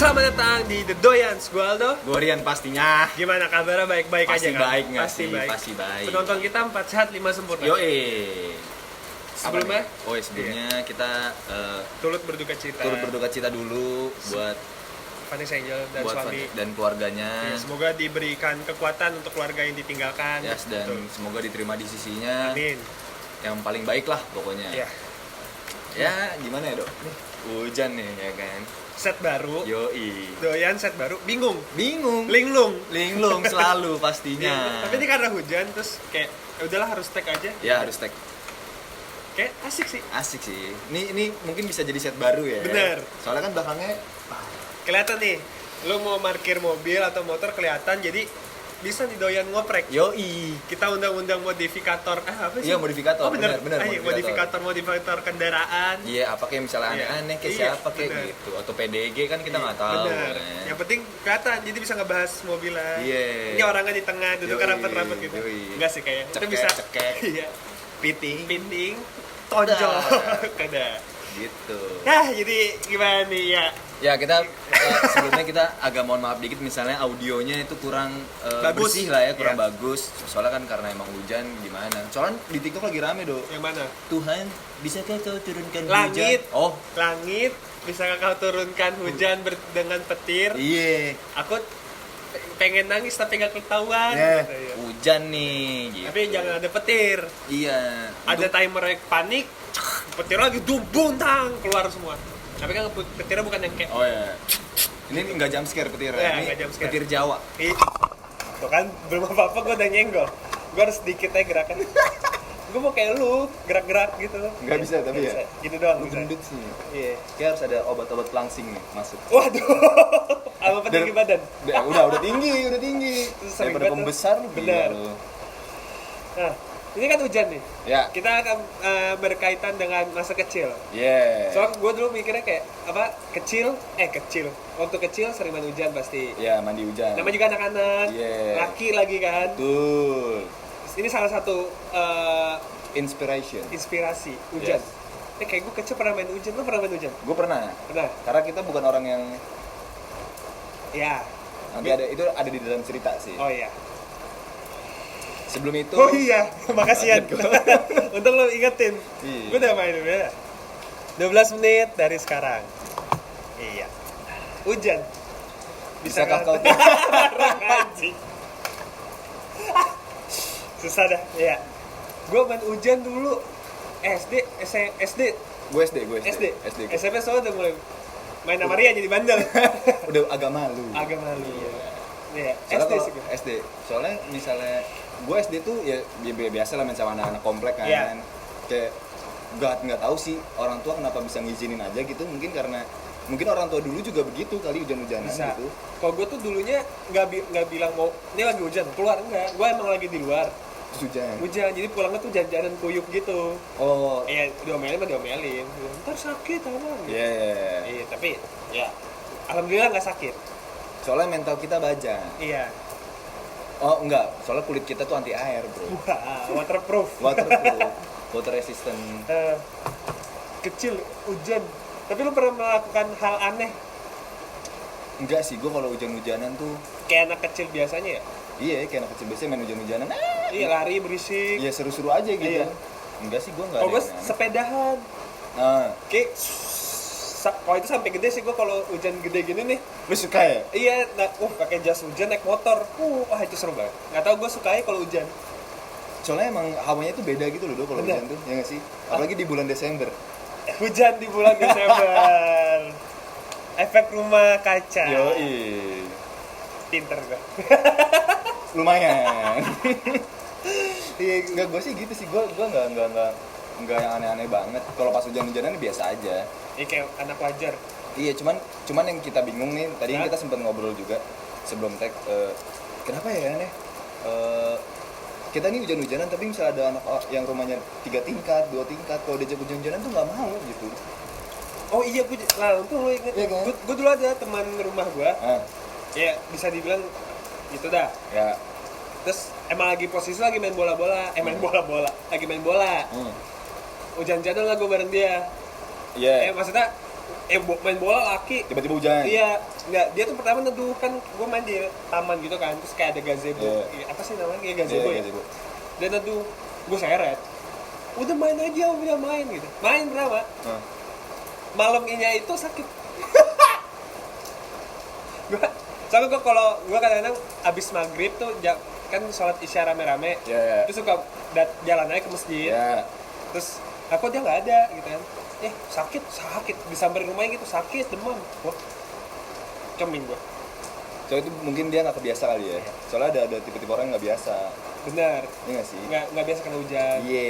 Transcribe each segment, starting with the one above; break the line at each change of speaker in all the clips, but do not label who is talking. Selamat datang di The Doyans, gue Aldo
Gorian pastinya.
Gimana kabarnya? Baik-baik aja
Pasti
kan?
baik nggak sih? Pasti baik.
Penonton kita 4 sehat 5 sempurna
Yo
Sebelumnya? Iya.
Oh sebelumnya kita eh,
Turut berduka cita
turut berduka cita dulu buat
Vanessa Angel dan
buat
suami
dan keluarganya.
Ya, Semoga diberikan kekuatan untuk keluarga yang ditinggalkan
Yes, dan
Betul.
semoga diterima di sisinya
Amin
yang paling baik lah pokoknya.
Ya,
Ya gimana ya dok? Nih, Hujan nih ya kan.
set baru
Yoi.
Doyan set baru, bingung
Bingung.
Linglung
Iya.
Iya.
Linglung selalu pastinya.
Tapi ini kan- karena hujan, terus kayak ya udahlah harus tag aja
Ya harus tag
Kayak asik sih
asik sih. Ini ini mungkin bisa jadi set baru ya.
Bener.
Soalnya kan belakangnya
Kelihatan nih, lu mau parkir mobil atau motor kelihatan jadi bisa nih doyan ngoprek
yoi.
kita undang-undang modifikator ah apa sih
Iya, modifikator.
oh, bener.
Bener, bener,
Ah, iya, modifikator. modifikator kendaraan
Iya, apa kayak misalnya
Iya.
aneh-aneh kayak
Iya,
siapa
benar.
kayak
Iya, Ya,
gitu atau PDG kan kita nggak tahu.
bener
kan.
yang penting kelihatan jadi bisa ngebahas mobilan
Iya.
ini orangnya di tengah duduk
Yoi,
rapat-rapat gitu
yoi.
enggak sih kayaknya itu
Cekek,
bisa
cekek.
iya
Piting
pinting tonjol
Dah.
kada
gitu.
nah jadi gimana nih ya
Ya, kita eh, sebelumnya kita agak mohon maaf dikit misalnya audionya itu kurang eh,
Bagus.
bersih lah ya, kurang
Iya.
bagus. Soalnya kan karena emang hujan gimana. Soalnya di TikTok lagi rame, Do.
yang mana
Tuhan, bisakah kau turunkan
Langit.
hujan? Oh,
langit bisakah kau turunkan hujan ber- dengan petir
iya.
aku pe- pengen nangis tapi gak ketahuan
Ya,
gitu, ya.
Hujan nih gitu.
tapi jangan ada petir
Iya.
ada timer yang panik petir lagi dum buntang keluar semua tapi kan put- petirnya bukan yang kayak
Oh ya. Ini nggak jump scare petir
Iya,
ya.
nggak
Ini
jump scare.
petir Jawa.
"Ih, tuh kan belum apa apa gue udah nyenggol gue harus sedikit aja gerakan gue mau kayak lu gerak-gerak gitu
Nggak bisa, tapi ya.
bisa. gitu doang bisa.
Gendut sih.
iya
Kayak harus ada obat-obat pelangsing nih masuk.
waduh apa peninggi
Dan-
badan
Udah, udah, udah tinggi, udah tinggi.
Sering
Daripada
banget.
pembesar lu gila
Benar.
lu.
nah ini kan hujan nih
Ya.
kita akan eh, berkaitan dengan masa kecil
Yeah.
soalnya gue dulu mikirnya kayak apa kecil eh kecil waktu kecil sering main hujan pasti
ya, mandi hujan.
namanya juga anak-anak
Iya.
laki lagi kan
Betul.
ini salah satu eh,
Inspiration.
inspirasi hujan
Yes.
eh kayak gue kecil pernah main hujan lu pernah main hujan
Gue pernah.
pernah
Karena kita bukan orang yang
ya
nanti ada itu ada di dalam cerita sih.
oh iya
Sebelum itu
oh iya makasih ya
Kaget
untung lo ingetin
Iya.
gue udah main udah 12 menit dari sekarang iya hujan
bisa
kau
kau
anjing Ah. susah dah ya gue main hujan dulu SD S- SD
gue SD, gue SD.
SD
SD. gua.
SMP soalnya udah mulai main sama Ria jadi bandel
Udah agak malu.
agak malu ya Iya,
Soalnya
SD
kalau
sih gua.
SD, soalnya misalnya gue SD tuh ya bi- bi- biasa lah main sama anak-anak komplek kan.
Iya.
Kayak nggak nggak tahu sih orang tua kenapa bisa ngizinin aja gitu mungkin karena mungkin orang tua dulu juga begitu kali hujan-hujanan
bisa
gitu.
kalau gue tuh dulunya nggak bi- nggak bilang mau ini lagi hujan keluar enggak gue emang lagi di luar
Terus hujan.
hujan jadi pulangnya tuh jajanan kuyup gitu
Oh,
iya
iya.
diomelin mah diomelin ntar sakit apa gitu. iya tapi ya alhamdulillah nggak sakit
Soalnya mental kita baja.
iya
Oh, enggak. Soalnya kulit kita tuh anti air, Bro.
Wah, waterproof
Waterproof, water resistant.
Eh, kecil hujan tapi lu pernah melakukan hal aneh
Enggak sih, gue kalau hujan-hujanan tuh
kayak anak kecil biasanya ya
iya kayak anak kecil biasanya main hujan-hujanan. Ah,
iya lari berisik
Iya seru-seru aja gitu.
Iya.
Enggak sih, gue enggak
kalau gue
ada yang aneh.
Oh, sepedahan
Ah.
kayak sa- kalau itu sampai gede sih gue kalau hujan gede gini nih
Lu suka ya?
iya nah, uh pakai jas hujan naik motor uh wah itu seru banget nggak tau gue sukanya kalau hujan
Soalnya emang hawanya tuh beda gitu loh Do, kalau
Beda.
hujan tuh, ya nggak sih? Apalagi di bulan Desember.
Eh, hujan di bulan Desember efek rumah kaca
Yoi.
pinter gue
Lumayan. Iya, enggak gue sih gitu sih. Gue gua enggak enggak enggak enggak yang aneh-aneh banget. Kalau pas hujan-hujanan biasa aja.
ya kayak anak wajar
Iya, cuman cuman yang kita bingung nih, tadi
Hah?
kita sempat ngobrol juga sebelum tag eh, kenapa ya aneh? Eh, kita nih hujan-hujanan tapi misalnya ada anak o- yang rumahnya tiga tingkat, dua tingkat, kalau diajak hujan-hujanan tuh nggak mau gitu.
oh iya gue lah untung lo inget
Iya kan?
gue, gue dulu ada teman rumah gue
Ah,
ya bisa dibilang gitu dah
ya.
terus emang lagi posisi lagi main bola bola eh main bola bola lagi main bola
Hmm.
hujan-hujanan lah gue bareng dia
Iya.
eh maksudnya eh bo- main bola laki
Tiba-tiba hujan.
Iya, nggak dia tuh pertama neduh kan gue main di taman gitu kan terus kayak ada gazebo
Iya.
Iya, apa sih namanya kayak gazebo
Iya,
ya
gazebo.
dia neduh gue seret udah main aja udah main gitu main berapa
Nah,
malamnya itu sakit gua soalnya gua kalau gua kadang-kadang abis maghrib tuh ja- kan sholat isya rame-rame
Iya, iya.
terus suka dat- jalan aja ke masjid
ya
terus aku dia nggak ada gitu kan eh sakit sakit disamperin rumahnya gitu sakit demam wah cemin gua
soalnya itu mungkin dia nggak kebiasa kali ya soalnya ada ada tipe-tipe orang yang nggak biasa
benar
Iya nggak sih
nggak nggak biasa kena hujan
iya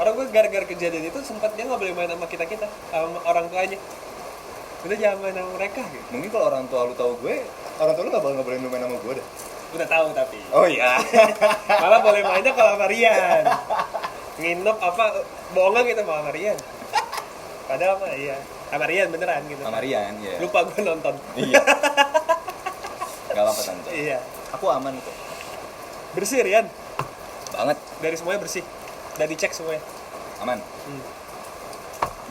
orang gua gara-gara kejadian itu sempat dia nggak boleh main sama kita kita sama orang tuanya udah jangan main sama mereka gitu
mungkin kalau orang tua lu tahu gue orang tua lu nggak bakal ngobrolin lu main sama gue deh
udah tahu tapi
oh iya
malah boleh mainnya kalau sama Rian nginep apa bohongan gitu sama sama Rian padahal mah iya sama Rian beneran gitu
sama Rian ya
lupa gue nonton
iya nggak apa-apa tante
iya
aku aman kok
bersih Rian
banget
dari semuanya bersih udah dicek semuanya
aman
hmm.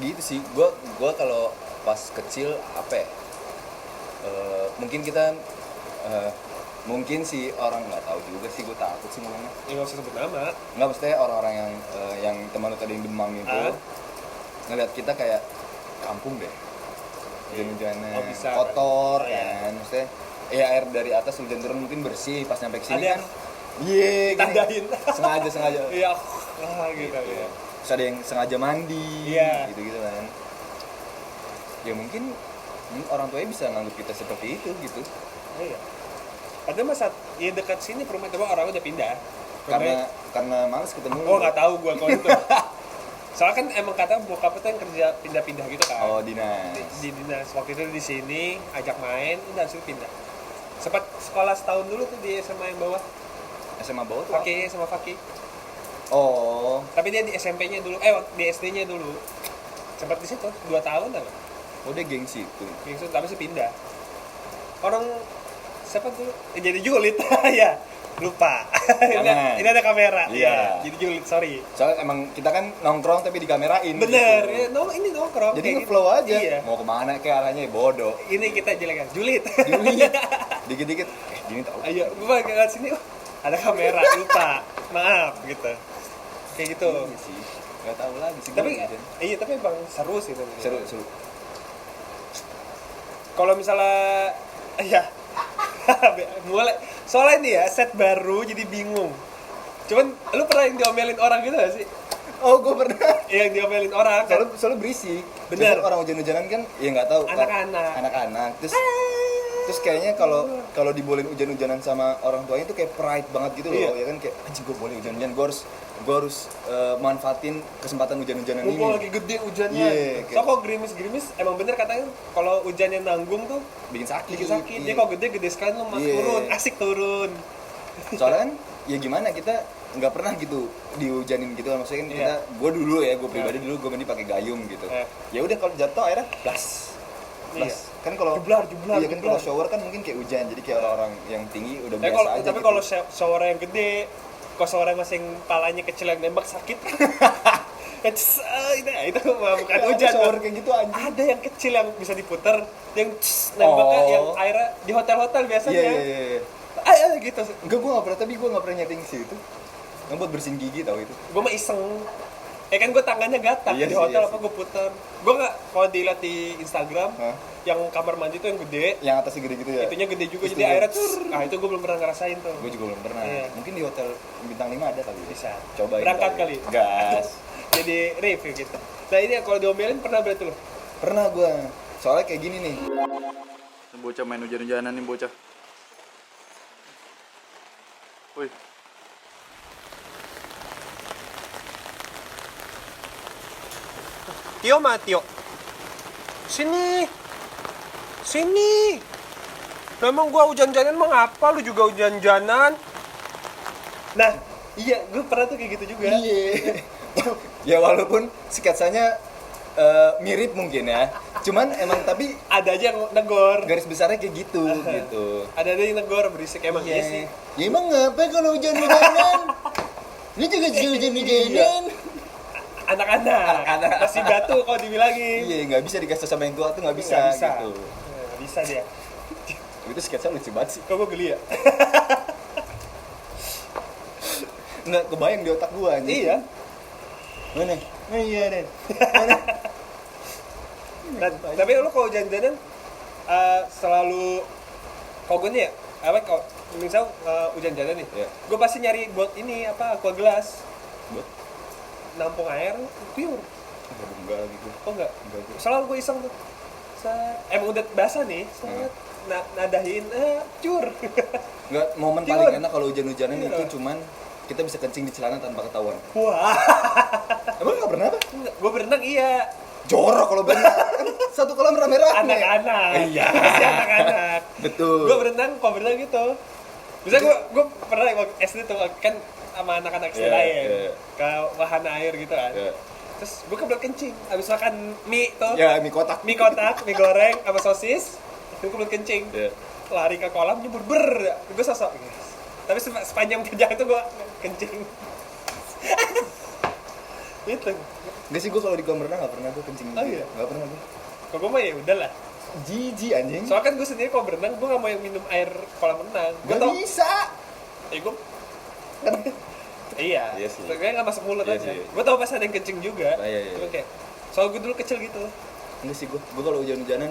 gitu sih gua gua kalau pas kecil apa ya Eh, mungkin kita eh, mungkin si orang nggak tahu juga sih gue takut sih ngomongnya
ya nggak usah sebut nama
nggak maksudnya orang-orang yang eh, yang teman lu tadi yang demam itu
Ah.
ngeliat kita kayak kampung deh
Iya.
hujan-hujannya
Oh, bisa,
kotor
berarti. Oh, iya.
kan maksudnya ya air dari atas hujan turun mungkin bersih pas
Ada
nyampe kesini
yang
kan iya gini.
tandain.
sengaja sengaja
iya ah, gitu ya
Terus ada yang sengaja mandi,
Iya.
gitu-gitu kan. Ya mungkin mungkin orang tuanya bisa nganggap kita seperti itu gitu.
Oh, iya padahal masa ya dekat sini perumahan coba orang udah pindah
Karena karena males ketemu.
oh nggak tahu gue kalau itu soalnya kan emang kata bokap itu yang kerja pindah-pindah gitu kan
Oh, dinas.
di, di dinas waktu itu di sini ajak main udah habis itu pindah sempat sekolah setahun dulu tuh di SMA yang bawah
SMA bawah tuh. apa?
Fakih sama Fakih
Oh,
tapi dia di SMP-nya dulu eh di SD-nya dulu sempat di situ dua tahun apa
oh dia gengsi itu.
Bingsu Gitu, tapi sih pindah orang siapa dulu Eh, jadi julid ya lupa ini,
Jangan.
ini ada kamera ya
Iya.
jadi julid sorry
Soalnya emang kita kan nongkrong tapi dikamerain.
bener ya,
gitu.
no, ini nongkrong
Jadi
kayak gitu.
nge-flow aja.
iya.
Mau kemana kayak arahnya ya bodoh.
ini kita jelekan julid
Julid. Dikit-dikit eh gini tahu.
ayo gua ke sini oh, ada kamera lupa maaf gitu kayak gitu
Iya sih. Gak tahu lagi sih.
tapi
gua gitu aja.
iya tapi bang seru sih tapi.
seru seru.
kalau misalnya ya mulai soalnya ini ya set baru jadi bingung cuman lu pernah yang diomelin orang gitu gak sih
Oh, gue pernah
yang diomelin orang kan
soalnya soalnya berisik
Bener.
Biasanya orang hujan-hujanan kan ya nggak tahu kan.
Anak-anak.
anak-anak terus terus kayaknya kalau kalau dibolehin hujan-hujanan sama orang tuanya itu kayak pride banget gitu
Iya.
loh ya kan kayak anjing gue boleh hujan-hujanan gue harus gue harus eh, manfaatin kesempatan hujan-hujanan ini
mumpung lagi gede hujannya
Iya,
gitu.
kayak-
so kalau gerimis gerimis emang bener katanya kalau hujannya nanggung tuh
bikin sakit
bikin sakit
Iya.
dia kalau gede gede sekali lu mas
Iya.
turun asik turun
soalnya kan ya gimana kita nggak pernah gitu dihujanin gitu kan maksudnya kan
Iya.
kita gue dulu ya gue pribadi dulu gue mandi pakai gayung gitu
Iya.
ya udah kalau jatuh akhirnya blas blas
Iya.
kan kalau
Jublar, jublar,
iya kan
jublar.
kalau shower kan mungkin kayak hujan jadi kayak orang-orang yang tinggi udah
tapi
biasa
kalau
aja
tapi
gitu.
kalau show- shower yang gede kalau shower yang masih yang palanya kecil yang nembak sakit Ya, cs, ah, itu itu mah bukan
Nggak ada
kan hujan Ah,
shower
Bang.
kayak gitu anjing
ada yang kecil yang bisa diputer yang cs, nembaknya
Oh.
yang airnya di hotel-hotel biasanya
iya iya iya iya.
ya? Ah, ah, gitu
enggak gue nggak pernah tapi gue nggak pernah nyeting sih itu yang buat bersihin gigi tau itu
gue mah iseng ya kan gue tangannya gatal
Iya
di
sih,
hotel
iya
apa
sih.
gue puter gue nggak kalau dilihat di Instagram
Hah?
yang kamar mandi tuh yang gede
yang atasnya gede gitu ya
itunya gede juga
Terus
jadi
tuh-
airnya tuh ah itu gue belum pernah ngerasain tuh
gue juga belum pernah
Iya.
mungkin di hotel bintang 5 ada kali ya
Bisa.
cobain
Berangkat
kali. ya.
kali.
gas
jadi review gitu nah ini kalau diomelin pernah berarti lo
pernah gue soalnya kayak gini nih
Ini bocah main hujan-hujanan nih bocah. Woi.
Tio mah Tio sini sini memang gue hujan-hujanan emang apa lu juga hujan-hujanan nah iya gue pernah tuh kayak gitu juga
Iya. ya walaupun sketsanya eh, mirip mungkin ya. Cuman emang tapi
ada aja yang negor
garis besarnya kayak gitu gitu.
ada ada yang negor berisik emang iya sih
Ya emang ngapa kalau hujan-hujanan? Ini juga hujan-hujanan.
anak-anak Iya,
Anak-anak.
masih batu kalau dibilangin
Iya, nggak bisa dikasih sama yang tua tuh nggak bisa,
Nggak bisa
gitu.
Nggak bisa dia
itu sketsa lucu banget sih kok gue geli ya nggak kebayang di otak gue anjing
Iya.
mana Nah, iya Den
Nah, tapi lu kalau jalan-jalan eh, selalu kalau gue nih ya, apa kalau misal eh, hujan jalan nih,
Iya.
gue pasti nyari buat ini apa aqua gelas
buat
nampung air pure
aduh enggak lagi gue
kok enggak
enggak gue
selalu gue iseng tuh Set. emang udah basah nih
Hmm.
set na nadahin eh, cur
enggak momen
Tiur.
paling enak kalau hujan-hujanan
Iya.
itu cuman kita bisa kencing di celana tanpa ketahuan
wah
emang nggak pernah apa
gue berenang iya
jorok kalau berenang Kan satu kolam rame-rame
anak-anak
iya
Pasti anak-anak
betul
gue berenang kalau berenang gitu bisa gue gue pernah waktu SD tuh kan sama anak-anak SD
Iya,
lain
iya.
ke wahana air gitu kan
Iya.
terus gue kebelet kencing abis makan mie tuh
ya mie kotak
mie kotak mie goreng sama sosis gue kebelet kencing
Iya.
lari ke kolam nyebur ber gue sosok tapi sepa- sepanjang kerjaan tuh gue kencing itu
Gak sih gue kalau di kolam renang gak pernah gue kencing
Oh, iya?
Gak pernah gue
kalau gue mah ya udahlah
Jijik anjing
soalnya kan gue sendiri kalau berenang gue gak mau yang minum air kolam renang gue
Gak
tau
bisa
ya gue iya
Iya sih.
gue gak masuk mulut
Iya
aja
sih, iya.
gue tau pas ada yang kencing juga
Ah, iya, iya.
Cuma kayak soal gue dulu kecil gitu
Enggak sih gue Gue kalau hujan-hujanan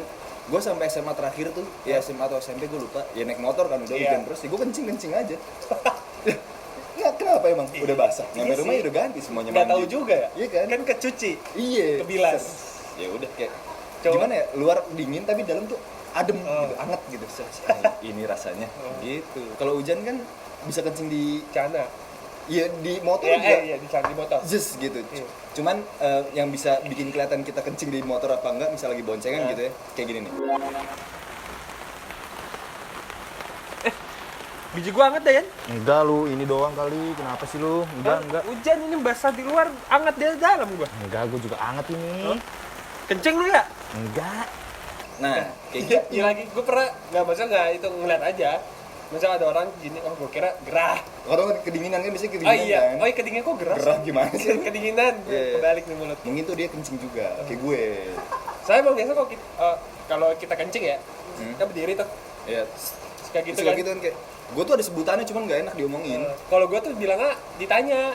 Gue sampai SMA terakhir tuh Ya SMA atau SMP gue lupa Ya naik motor kan udah
Iya.
hujan terus ya Gue kencing-kencing aja Nggak kenapa emang Udah basah
Iya
Nyampe
sih.
rumah ya udah ganti semuanya
nggak tahu
mandi.
juga ya
Iya kan?
kan kecuci
Iya
Kebilas.
Ya udah kayak
Coba.
Gimana ya Luar dingin tapi dalam tuh adem
Oh.
gitu Anget gitu Ah, Ini rasanya
Oh.
Gitu Kalau hujan kan bisa kencing di
cana
ya di motor
ya
juga.
eh iya di cana di motor
Just gitu.
Iya.
Cuman eh, yang bisa bikin kelihatan kita kencing di motor apa enggak, misal lagi boncengan
Nah.
gitu ya, kayak gini nih.
biji gue anget deh ya
Enggak lu, ini doang kali. Kenapa sih lu? Enggak, enggak.
hujan ini basah di luar anget dari dalam gue
Enggak, gue juga anget ini.
Hah? kencing lu ya
Enggak.
Nah, kayak
Iya,
gitu.
iya lagi gue pernah nggak maksudnya nggak itu ngeliat aja misal ada orang gini oh gue kira gerah
Kalau nggak kedinginan kan biasanya
oh
kedinginan
iya
kan.
oh iya kedinginan kok gerah
Gerah gimana sih?
kedinginan
Iya, iya.
kebalik nih mulut
Mungkin tuh dia kencing juga, kayak gue.
saya emang biasa kalau kita, eh, kalau kita kencing ya
Hmm.
kita berdiri tuh
Iya.
terus kayak gitu
Gitu
kan
gitu kan kayak gue tuh ada sebutannya cuman nggak enak diomongin.
Eh, kalau gue tuh bilangnya ditanya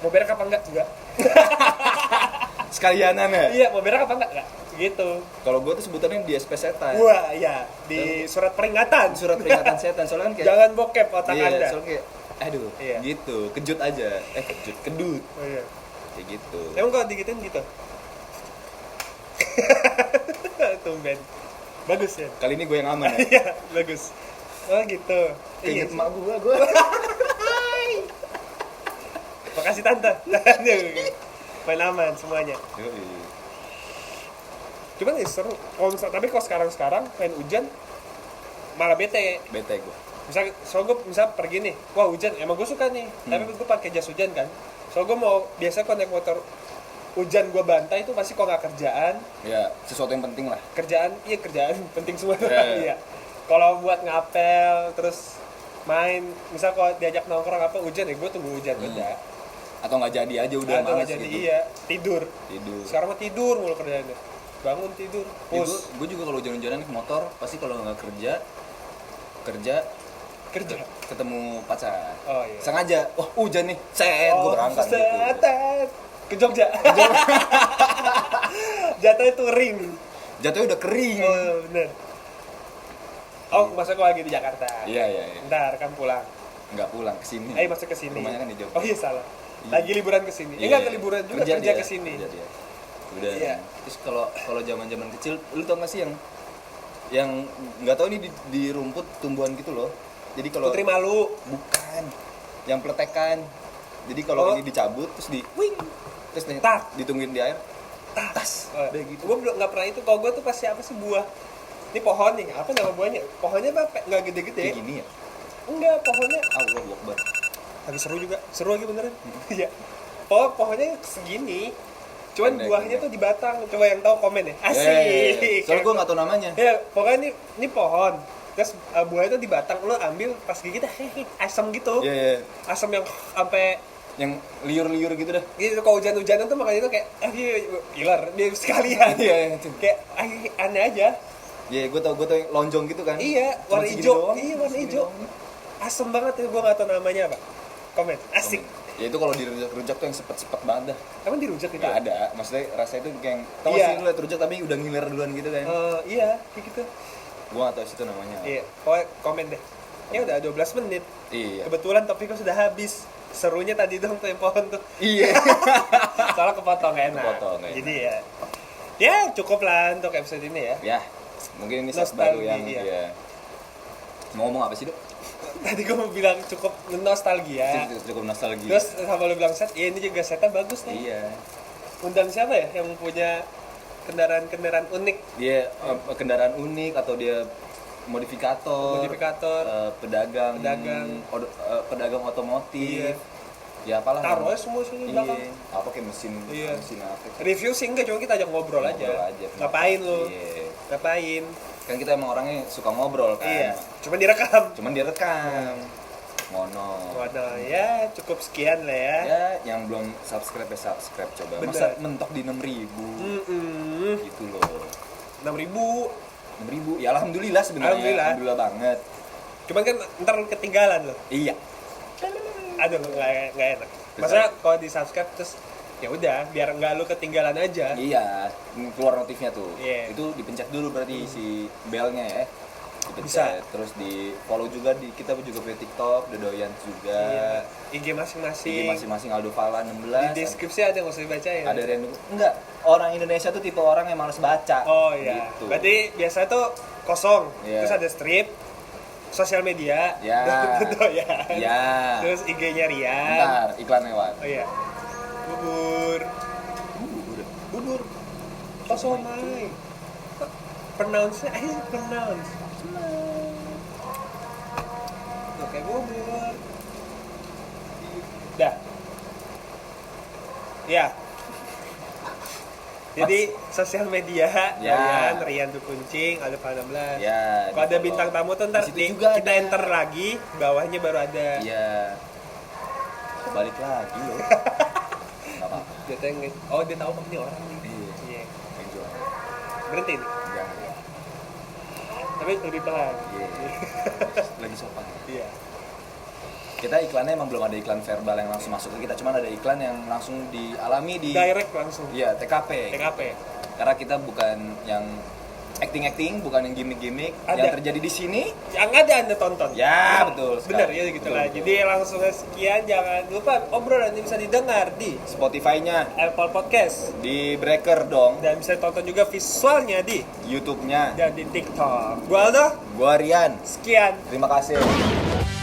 mau berak apa enggak enggak
Sekalianan ya.
iya mau berak apa enggak enggak gitu
Kalau gue tuh sebutannya di SP setan.
wah iya di surat peringatan
Nah. Surat peringatan setan soalnya kan kayak
jangan bokep otak
iya,
anda
soalnya kayak aduh
Iya.
gitu, kejut aja. Eh, kejut, kedut.
Oh, iya.
Kayak gitu.
emang kalau digituin gitu tumben bagus ya
Kali ini gue yang aman ya.
iya bagus oh gitu iya
Keinget emak gue, gue.
makasih tante Iya, main aman semuanya
Yoi.
cuman ya seru kalau misal- tapi kalau sekarang sekarang main hujan malah bete
Bete gue.
misal so gue misal pergi nih wah hujan emang gue suka nih tapi gue pakai jas hujan kan so gue mau biasa kalau naik motor hujan gue bantai itu pasti kalau nggak kerjaan
Ya, sesuatu yang penting lah.
kerjaan iya kerjaan penting semua
Iya, iya.
iya kalau buat ngapel terus main misal kalau diajak nongkrong apa hujan ya gue tunggu hujan udah
Atau nggak jadi aja Hmm. udah
Atau nggak
malas
jadi
gitu.
iya tidur
Tidur.
sekarang mah tidur mulu kerjaannya bangun tidur
gue,
pus
juga kalau jalan-jalan naik motor, pasti kalau nggak kerja, kerja
kerja
Iya. ketemu pacar.
Oh, iya.
Sengaja, wah hujan nih, set
Oh,
gue berangkat gitu.
setet. Ke Jogja. Jatuhnya itu ring.
Jatuhnya udah kering.
Oh, bener. Oh, masa gua lagi di Jakarta.
Iya, iya, iya.
Ntar kan pulang.
Nggak pulang ke sini.
Eh, masuk ke sini.
Rumahnya kan di Jogja.
Oh iya salah.
Iya.
Lagi liburan ke sini. Eh,
Iya,
enggak
iya.
ke liburan juga kerja,
dia,
ke sini.
kerja dia. Udah.
Iya.
Terus kalau kalau zaman-zaman kecil, lu tau gak sih yang yang nggak tahu ini di, di rumput tumbuhan gitu loh. Jadi kalau
Putri malu.
Bukan. Yang peletekan. Jadi kalau
Oh.
ini dicabut terus di
Wing.
terus nih,
Tak.
ditungguin di air.
Tas.
Udah gitu.
Gue belum nggak pernah itu. Kalau gue tuh pasti apa sih buah? Ini pohon nih. Apa nama buahnya? Pohonnya apa? Nggak
Kayak
gede-gede.
gini ya.
Enggak, pohonnya
Allah Akbar.
Tapi seru juga, seru lagi beneran. Iya. Oh, pohonnya segini. Cuman
Pendek,
buahnya
pendek.
tuh di batang. Coba yang tahu komen ya. Asik.
Eh, Soalnya gue nggak tahu namanya.
Ya, pokoknya ini ini pohon. Terus uh, buahnya tuh di batang lo ambil pas gigit hehehe asam gitu.
Iya, iya.
Asam yang sampai
Yang liur-liur gitu dah.
gitu kalau hujan-hujanan tuh makanya tuh kayak ah, iya, iya, iya, iler dia sekalian.
Iya, iya.
kayak ah, aneh aja.
Iya, gue tau, gue tau yang lonjong gitu kan.
Iya,
Cuman
warna
segini
hijau.
doang,
Iya, warna
segini
hijau.
doang.
Asem banget ya, gue gak tau namanya apa. Komen, asik.
Ya itu kalau dirujak-rujak tuh yang sepet-sepet banget dah.
Emang dirujak gitu?
Gak
ya?
ada, maksudnya rasanya tuh kayak
Iya.
tau gak sih lu liat rujak tapi udah ngiler duluan gitu kan.
Eh, iya, kayak gitu.
Gua gak tau situ namanya.
Iya, pokoknya komen deh. Ya udah 12 menit.
Iya.
Kebetulan topiknya sudah habis. Serunya tadi dong tuh yang pohon tuh.
Iya.
Soalnya kepotong nggak enak.
Kepotong nggak
Jadi ya, ya cukup lah untuk episode ini ya.
ya, mungkin ini saat baru
Nostalgia,
yang
iya.
ya. Mau ngomong apa sih, Dok?
Tadi gue mau bilang cukup nostalgia.
Cukup- Cukup nostalgia.
Iya. Terus sama lu bilang set, ya ini juga setnya bagus nih.
Iya.
Undang siapa ya yang punya kendaraan-kendaraan unik,
Dia eh, kendaraan unik atau dia modifikator,
modifikator,
eh, pedagang,
Pedagang.
od- eh, pedagang otomotif.
Iya.
Ya apalah.
taruhnya semua sini di
Iya.
belakang.
Apa kayak mesin
Iya.
mesin apa? kayak-
Review sih enggak, cuma kita ajak ngobrol, aja. Ngapain lu?
Iya.
Ngapain?
Kan kita emang orangnya suka ngobrol kan.
Iya, cuma direkam.
Cuman direkam. Ngono.
Waduh, ya cukup sekian lah ya.
Ya, yang belum subscribe ya subscribe coba.
Bener. Hmm.
Masa mentok di 6000
Mm-mm.
gitu loh.
6.000.
6000. Ya alhamdulillah sebenarnya.
Alhamdulillah.
Alhamdulillah banget.
Cuman kan ntar lu ketinggalan loh.
Iya.
Aduh, nggak nggak enak. Maksudnya kalau di subscribe terus ya udah biar nggak lu ketinggalan aja.
Iya, keluar notifnya tuh.
Iya. Hmm.
Itu dipencet dulu berarti si belnya ya. Dipencet. Terus di follow juga di kita juga punya TikTok, Dodoyan juga.
Iya. IG
Di
masing-masing.
masing-masing Aldo Fala 16.
Di deskripsi ada yang usah dibaca ya.
ada random enggak orang Indonesia tuh tipe orang yang males baca
Oh iya.
gitu.
Berarti biasa tuh kosong.
Iya.
Terus ada strip, sosial media,
Ya.
ya.
ya
Terus kan? IG-nya Rian.
bentar iklan lewat
Oh iya. Bubur. Bubur. Tosomai. Pronounce eh pronounce. Tuh kayak bubur. Dah. Ya. Jadi sosial media Rian,
Ya.
Rian tuh kuncing, ada 16.
ya
Kalau ada
di-follow.
bintang tamu tuh ntar
Di situ
di-
juga
kita
ada.
enter lagi, bawahnya baru ada.
iya balik lagi loh nggak apa-apa
Dia tuh yang nge- oh dia tahu kamu ini orang nih.
Iya.
Iya.
yang jual
Berhenti nih.
jangan ya
Tapi lebih pelan.
Iya. lagi sopan
Iya.
kita iklannya emang belum ada iklan verbal yang langsung masuk ke kita cuman ada iklan yang langsung dialami di
Direct langsung.
iya TKP
TKP.
karena kita bukan yang acting-acting bukan yang gimmick-gimmick
Ada.
yang terjadi di sini
Yang ada Anda tonton.
Ya, betul
Benar
sekali.
ya gitu
Betul,
lah.
betul.
Jadi langsung sekian jangan lupa obrolan ini bisa didengar di
Spotify-nya
Apple Podcast
di breaker dong
dan bisa tonton juga visualnya di
YouTube-nya
dan di TikTok. Gua Aldo,
gua Rian
sekian.
terima kasih